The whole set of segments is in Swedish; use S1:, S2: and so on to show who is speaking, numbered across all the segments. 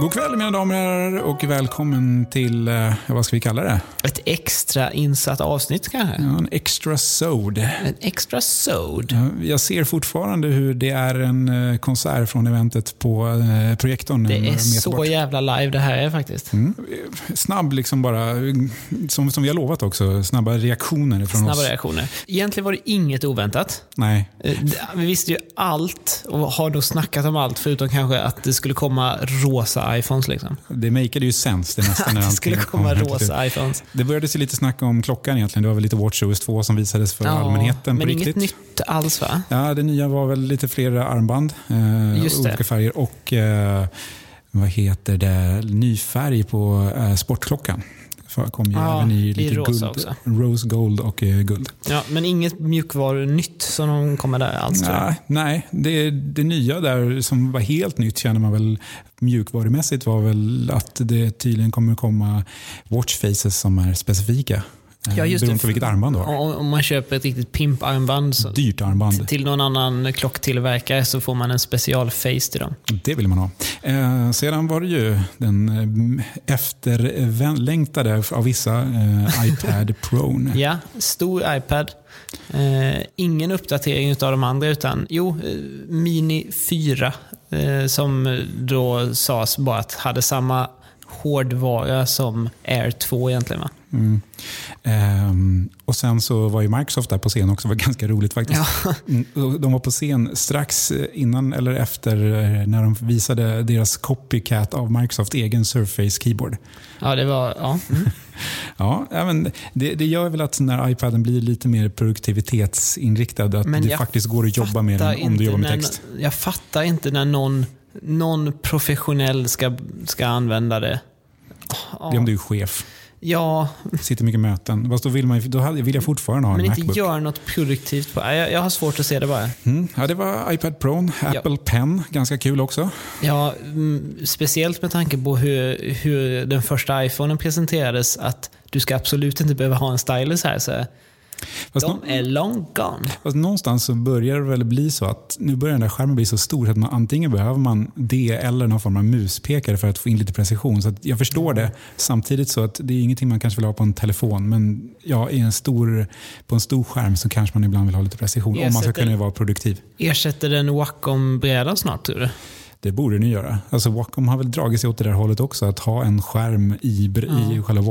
S1: God kväll mina damer och herrar och välkommen till, eh, vad ska vi kalla det?
S2: Ett extra insatt avsnitt kanske?
S1: Ja, en extra sod.
S2: En extra sod?
S1: Ja, Jag ser fortfarande hur det är en eh, konsert från eventet på eh, projektorn. en
S2: Det är
S1: meter
S2: så
S1: bort.
S2: jävla live det här är faktiskt.
S1: Mm. Snabb liksom bara, som, som vi har lovat också, snabba reaktioner från
S2: Snabba
S1: oss.
S2: reaktioner. Egentligen var det inget oväntat.
S1: Nej,
S2: Eh, det- Vi visste ju allt och har då snackat om allt förutom kanske att det skulle komma rosa iPhones. Liksom.
S1: det makeade ju sens det nästan. när
S2: Att det
S1: allting
S2: skulle
S1: kom
S2: komma
S1: helt ut.
S2: rosa iPhones.
S1: Det började se lite snack om klockan egentligen. Det var väl lite Watch OS 2 som visades för allmänheten på
S2: men
S1: riktigt.
S2: inget nytt alls va?
S1: Ja, det nya var väl lite fler armband. Eh,
S2: Just det.
S1: olika färger och eh, vad heter det? Ny färg på eh, sportklockan. För- Kom ju
S2: Ja,
S1: även i
S2: i
S1: lite
S2: rosa
S1: guld,
S2: också.
S1: rose gold och eh, guld.
S2: Ja, men inget mjukvarunytt som de kommer där alls tror jag.
S1: Nej, nej det, det nya där som var helt nytt känner man väl mjukvarumässigt var väl att det tydligen kommer komma watchfaces som är specifika. eh,
S2: Ja, just det.
S1: beroende på vilket armband du har.
S2: Om om man köper ett riktigt pimparmband så,
S1: Dyrt armband.
S2: till någon annan klocktillverkare så får man en specialface till dem.
S1: Det vill man ha. Eh, sedan var det ju den eh, efterlängtade av vissa eh, iPad Pro.
S2: Ja, stor iPad. Eh, ingen uppdatering utav de andra utan, jo, eh, Mini 4 eh, som då sades bara att hade samma hårdvara som Air 2 egentligen va?
S1: Mm. Ehm, och sen så var ju Microsoft där på scen också. Det var ganska roligt faktiskt. Mm, och De var på scen strax innan eller efter eh, när de visade deras copycat av Microsoft egen Surface Keyboard.
S2: Ja, det var, ja. Mm.
S1: Ja, ja, men det, det gör väl att den här iPaden blir lite mer produktivitetsinriktad. Att
S2: Men
S1: det
S2: jag
S1: faktiskt går att jobba med
S2: Fattar
S1: den om
S2: inte
S1: du jobbar med
S2: när-
S1: text.
S2: Jag fattar inte när någon, någon professionell ska, ska använda det.
S1: Det är om du är chef.
S2: Ja,
S1: Sitter mycket möten. Fast då vill, man, ju- då hade- vill jag fortfarande ha
S2: men
S1: en
S2: inte
S1: Macbook.
S2: gör något produktivt på jag, jag har svårt att se det bara.
S1: Mm. Ja, det var iPad Pro, Apple Pen, ganska kul också.
S2: Ja, mm, speciellt med tanke på hur, hur den första iPhonen presenterades, att du ska absolut inte behöva ha en stylus här. Så
S1: Fast,
S2: de
S1: nå-
S2: är long gone.
S1: fast någonstans så börjar det väl bli så att nu börjar den där skärmen bli så stor så att man antingen behöver man det eller någon form av muspekare för att få in lite precision. Så att jag förstår det. Samtidigt så att det är ingenting man kanske vill ha på en telefon men ja, i en stor, på en stor skärm så kanske man ibland vill ha lite precision om man ska
S2: Ersätter-
S1: kunna vara produktiv.
S2: Ersätter den Wacom-brädan snart tror du?
S1: Det borde ni göra. Alltså Wacom har väl dragit sig åt det där hållet också, att ha en skärm i, br- i själva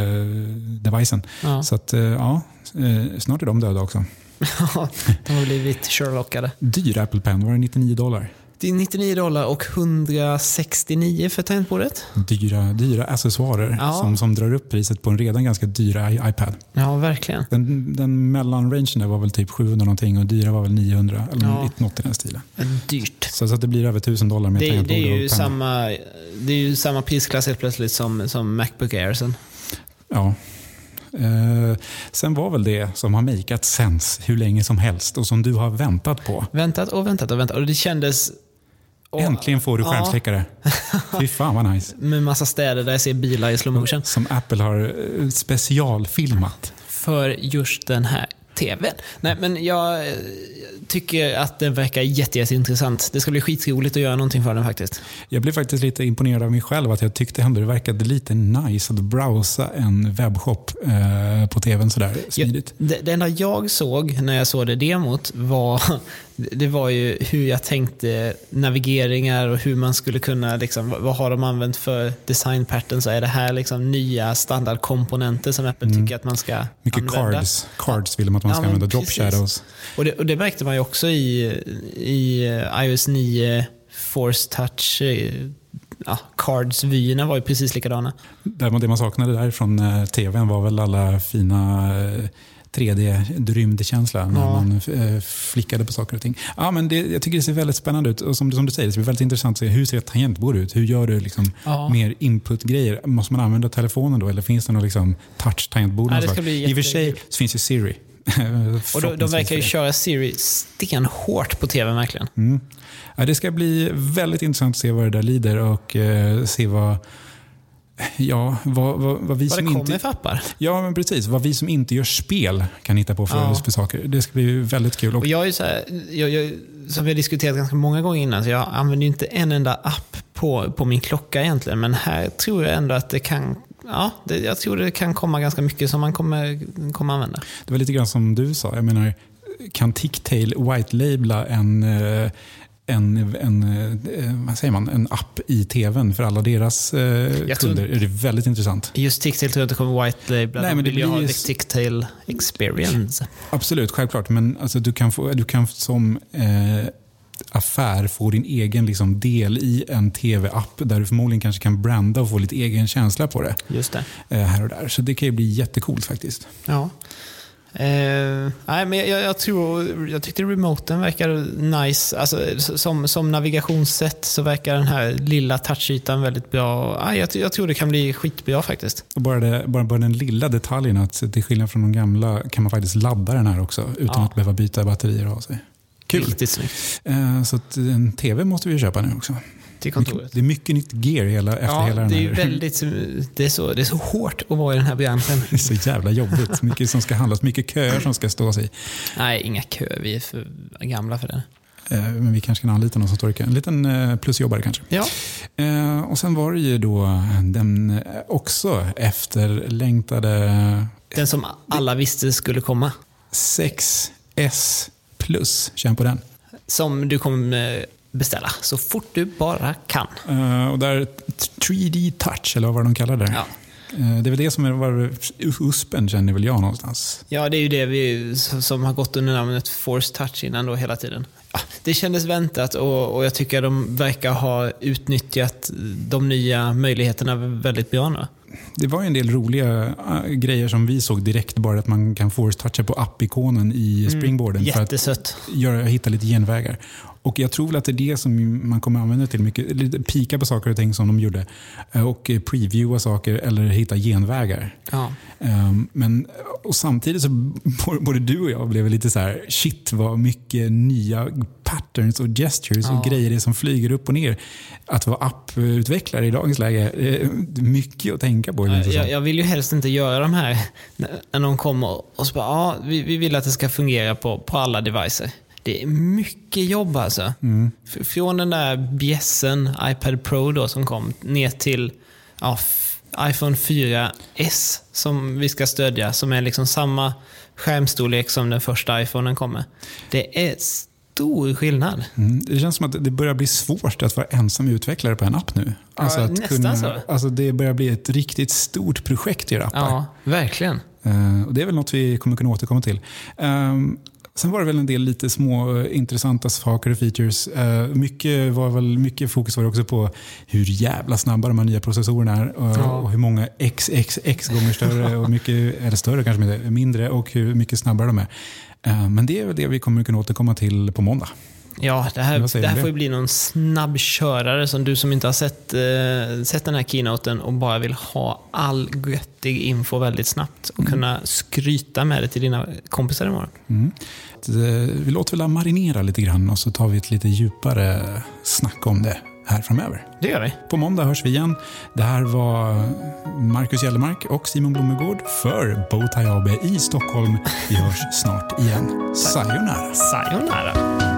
S1: Wacom-devicen.
S2: Ja.
S1: Så att, eh, ja, eh, snart är de döda också.
S2: de har blivit Sherlockade.
S1: Dyr Apple Pen, var det 99 dollar?
S2: Det är 99 dollar och 169 för tangentbordet.
S1: Dyra, dyra accessoarer
S2: Ja.
S1: som, som drar upp priset på en redan ganska dyr i- iPad.
S2: Ja, verkligen.
S1: Den, den mellanrangen där var väl typ 700 någonting och dyra var väl 900 eller
S2: Ja.
S1: något i den stilen.
S2: Dyrt.
S1: Så, så att det blir över 1000 dollar med
S2: Det, det,
S1: tangentbord
S2: är
S1: och
S2: ju
S1: penna.
S2: samma, det är ju samma prisklass helt plötsligt som, som Macbook Air sen.
S1: Ja. Eh, sen var väl det som har makeat sens hur länge som helst och som du har väntat på.
S2: Väntat och väntat och väntat. Och det kändes... och-
S1: Äntligen får du
S2: Ja.
S1: skärmsläckare. Fy fan vad nice.
S2: Med massa städer där jag ser bilar i slow motion.
S1: Som Apple har eh, specialfilmat.
S2: För just den här TVn. Nej, men jag eh, tycker att den verkar jätte, jätteintressant. Det ska bli skitroligt att göra någonting för den faktiskt.
S1: Jag blev faktiskt lite imponerad av mig själv att jag tyckte ändå det verkade lite nice att browsa en webbshop eh, på tvn sådär smidigt.
S2: Jag, det, det enda jag såg när jag såg det demot var, det var ju hur jag tänkte navigeringar och hur man skulle kunna, liksom, vad- vad har de använt för design patterns? Är det här liksom nya standardkomponenter som Apple tycker att man ska
S1: Mm. Mycket
S2: använda?
S1: cards. Cards vill de att man
S2: Ja,
S1: ska
S2: men
S1: använda. Drop
S2: precis.
S1: shadows.
S2: Och det, och det märkte man ju också i, i eh, iOS 9 Force Touch. eh, Ja, Cards-vyerna var ju precis likadana.
S1: Där man- Det man saknade där från eh, tvn var väl alla fina 3D-rymdkänsla när
S2: Ja.
S1: man eh, flickade på saker och ting. Ja, men det, jag tycker det ser väldigt spännande ut. Och som, du- som du säger, det ser väldigt intressant att se hur ser ett tangentbord ut? Hur gör du liksom
S2: Ja.
S1: mer input-grejer? Måste man använda telefonen då eller finns det någon liksom touch-tangentbord?
S2: Ja, det
S1: någonstans?
S2: ska bli
S1: I och för sig
S2: jättekul.
S1: så finns ju Siri.
S2: Och de, de
S1: Förhoppningsvis
S2: verkar ju
S1: det.
S2: köra Siri stenhårt på TV verkligen.
S1: Ja, det ska bli väldigt intressant att se vad det där lider och eh, se vad, ja, vad, vad, vad vi
S2: Vad det
S1: som
S2: kommer
S1: inte...
S2: för appar.
S1: Ja, men precis. Vad vi som inte gör spel kan hitta på för,
S2: Ja.
S1: för saker. Det ska bli väldigt kul. Och
S2: Och jag är ju så här, jag, jag, som vi har diskuterat ganska många gånger innan, så jag använder ju inte en enda app på, på min klocka egentligen. Men här tror jag ändå att det kan Ja, det, jag tror det kan komma ganska mycket som man kommer, kommer använda.
S1: Det var lite grann som du sa. Jag menar, kan Ticktail white-labela en, eh, en, en, eh, vad säger man, en app i tvn för alla deras eh,
S2: Jag tror-
S1: kunder? Det är väldigt intressant.
S2: Just Ticktail tror jag inte kommer white label.
S1: Nej,
S2: Nej,
S1: men
S2: men
S1: det
S2: vill ju ha
S1: blir ju
S2: the
S1: s-
S2: Ticktail experience.
S1: Absolut, självklart. Men alltså, du, kan få, du kan som eh, affär få din egen liksom, del i en tv-app där du förmodligen kanske kan branda och få lite egen känsla på det
S2: Just det.
S1: eh, här och där. Så det kan ju bli jättecoolt faktiskt.
S2: Ja. Eh, nej, men jag, jag, tror, jag tyckte remoten verkar nice. Alltså, s- som, som navigationssätt så verkar den här lilla touchytan väldigt bra. Ah, jag, jag tror det kan bli skitbra faktiskt.
S1: Och bara, det, bara, bara den lilla detaljen att till skillnad från de gamla kan man faktiskt ladda den här också utan
S2: Ja.
S1: att behöva byta batterier och ha sig. Kul!
S2: Riktigt snyggt.
S1: Eh, Så att en tv måste vi köpa nu också.
S2: Till kontoret.
S1: Mycket, det är mycket nytt gear hela, efter
S2: Ja,
S1: hela den
S2: det är
S1: här.
S2: ju väldigt, det är, så, det är så hårt att vara i den här branschen.
S1: Det är så jävla jobbigt. Mycket som ska handlas, mycket köer som ska stås i.
S2: Nej, inga köer. Vi är för gamla för det.
S1: Eh, Men vi kanske kan anlita någon som står i kö. En liten eh, plusjobbare kanske.
S2: Ja,
S1: Eh, Och sen var det ju då den eh, också efterlängtade
S2: den som alla visste skulle komma.
S1: 6S Plus. Känn på den.
S2: Som du kommer eh, beställa så fort du bara kan.
S1: Eh, Och där 3D touch, eller vad de kallar det.
S2: Ja.
S1: Eh, Det är väl det som är var, USPen känner väl jag någonstans.
S2: Ja, det är ju det vi, som har gått under namnet Force Touch innan då hela tiden. Ja, Det kändes väntat och, och jag tycker att de verkar ha utnyttjat de nya möjligheterna väldigt bra nu.
S1: Det var ju en del roliga äh, grejer som vi såg direkt. Bara att man kan force-toucha på app-ikonen i springboarden för att
S2: Jättesött.
S1: göra, hitta lite genvägar. Och Jag tror väl att det är det som man kommer använda till mycket. Lite Pika på saker och ting som de gjorde. eh, Och eh, previewa saker eller hitta genvägar.
S2: Ja.
S1: Ehm, Men, och samtidigt så b- både du och jag blev lite så här, shit vad mycket nya patterns och gestures
S2: Ja.
S1: och grejer det är som flyger upp och ner. Att vara apputvecklare i dagens läge, eh, mycket att tänka på. känns det som.
S2: Jag, jag vill ju helst inte göra de här när när någon kommer och så bara, ja, vi, vi vill att det ska fungera på, på alla devices. Det är mycket jobb alltså. F- Från den där bjässen iPad Pro då som kom ner till ja, f- iPhone 4S som vi ska stödja som är liksom samma skärmstorlek som den första iPhonen kommer. Det är stor skillnad.
S1: Mm. Det känns som att det börjar bli svårt att vara ensam utvecklare på en app nu.
S2: Ja,
S1: att
S2: nästan så.
S1: Alltså det börjar bli ett riktigt stort projekt i era appar.
S2: Ja, verkligen.
S1: Eh, och det är väl något vi kommer kunna återkomma till. Ehm, sen var det väl en del lite små eh, intressanta saker och features. Eh, mycket, var väl, mycket fokus var det också på hur jävla snabba de här nya processorerna är och,
S2: Ja.
S1: och hur många XXX gånger större, och mycket, eller större kanske men inte, mindre och hur mycket snabbare de är. Eh, men det är väl det vi kommer kunna återkomma till på måndag.
S2: Ja, det här,
S1: Vad säger
S2: det här
S1: du?
S2: får ju bli någon snabbkörare som du som inte har sett, eh, sett den här keynoten och bara vill ha all göttig info väldigt snabbt och kunna skryta med det till dina kompisar imorgon.
S1: Mm. Att, eh, Vi låter väl den marinera lite grann och så tar vi ett lite djupare snack om det här framöver.
S2: Det gör vi.
S1: På måndag hörs vi igen. Det här var Marcus Gällemark och Simon Blomegård för Bowtie AB i Stockholm. Vi hörs snart igen. Sayonara!
S2: Sayonara.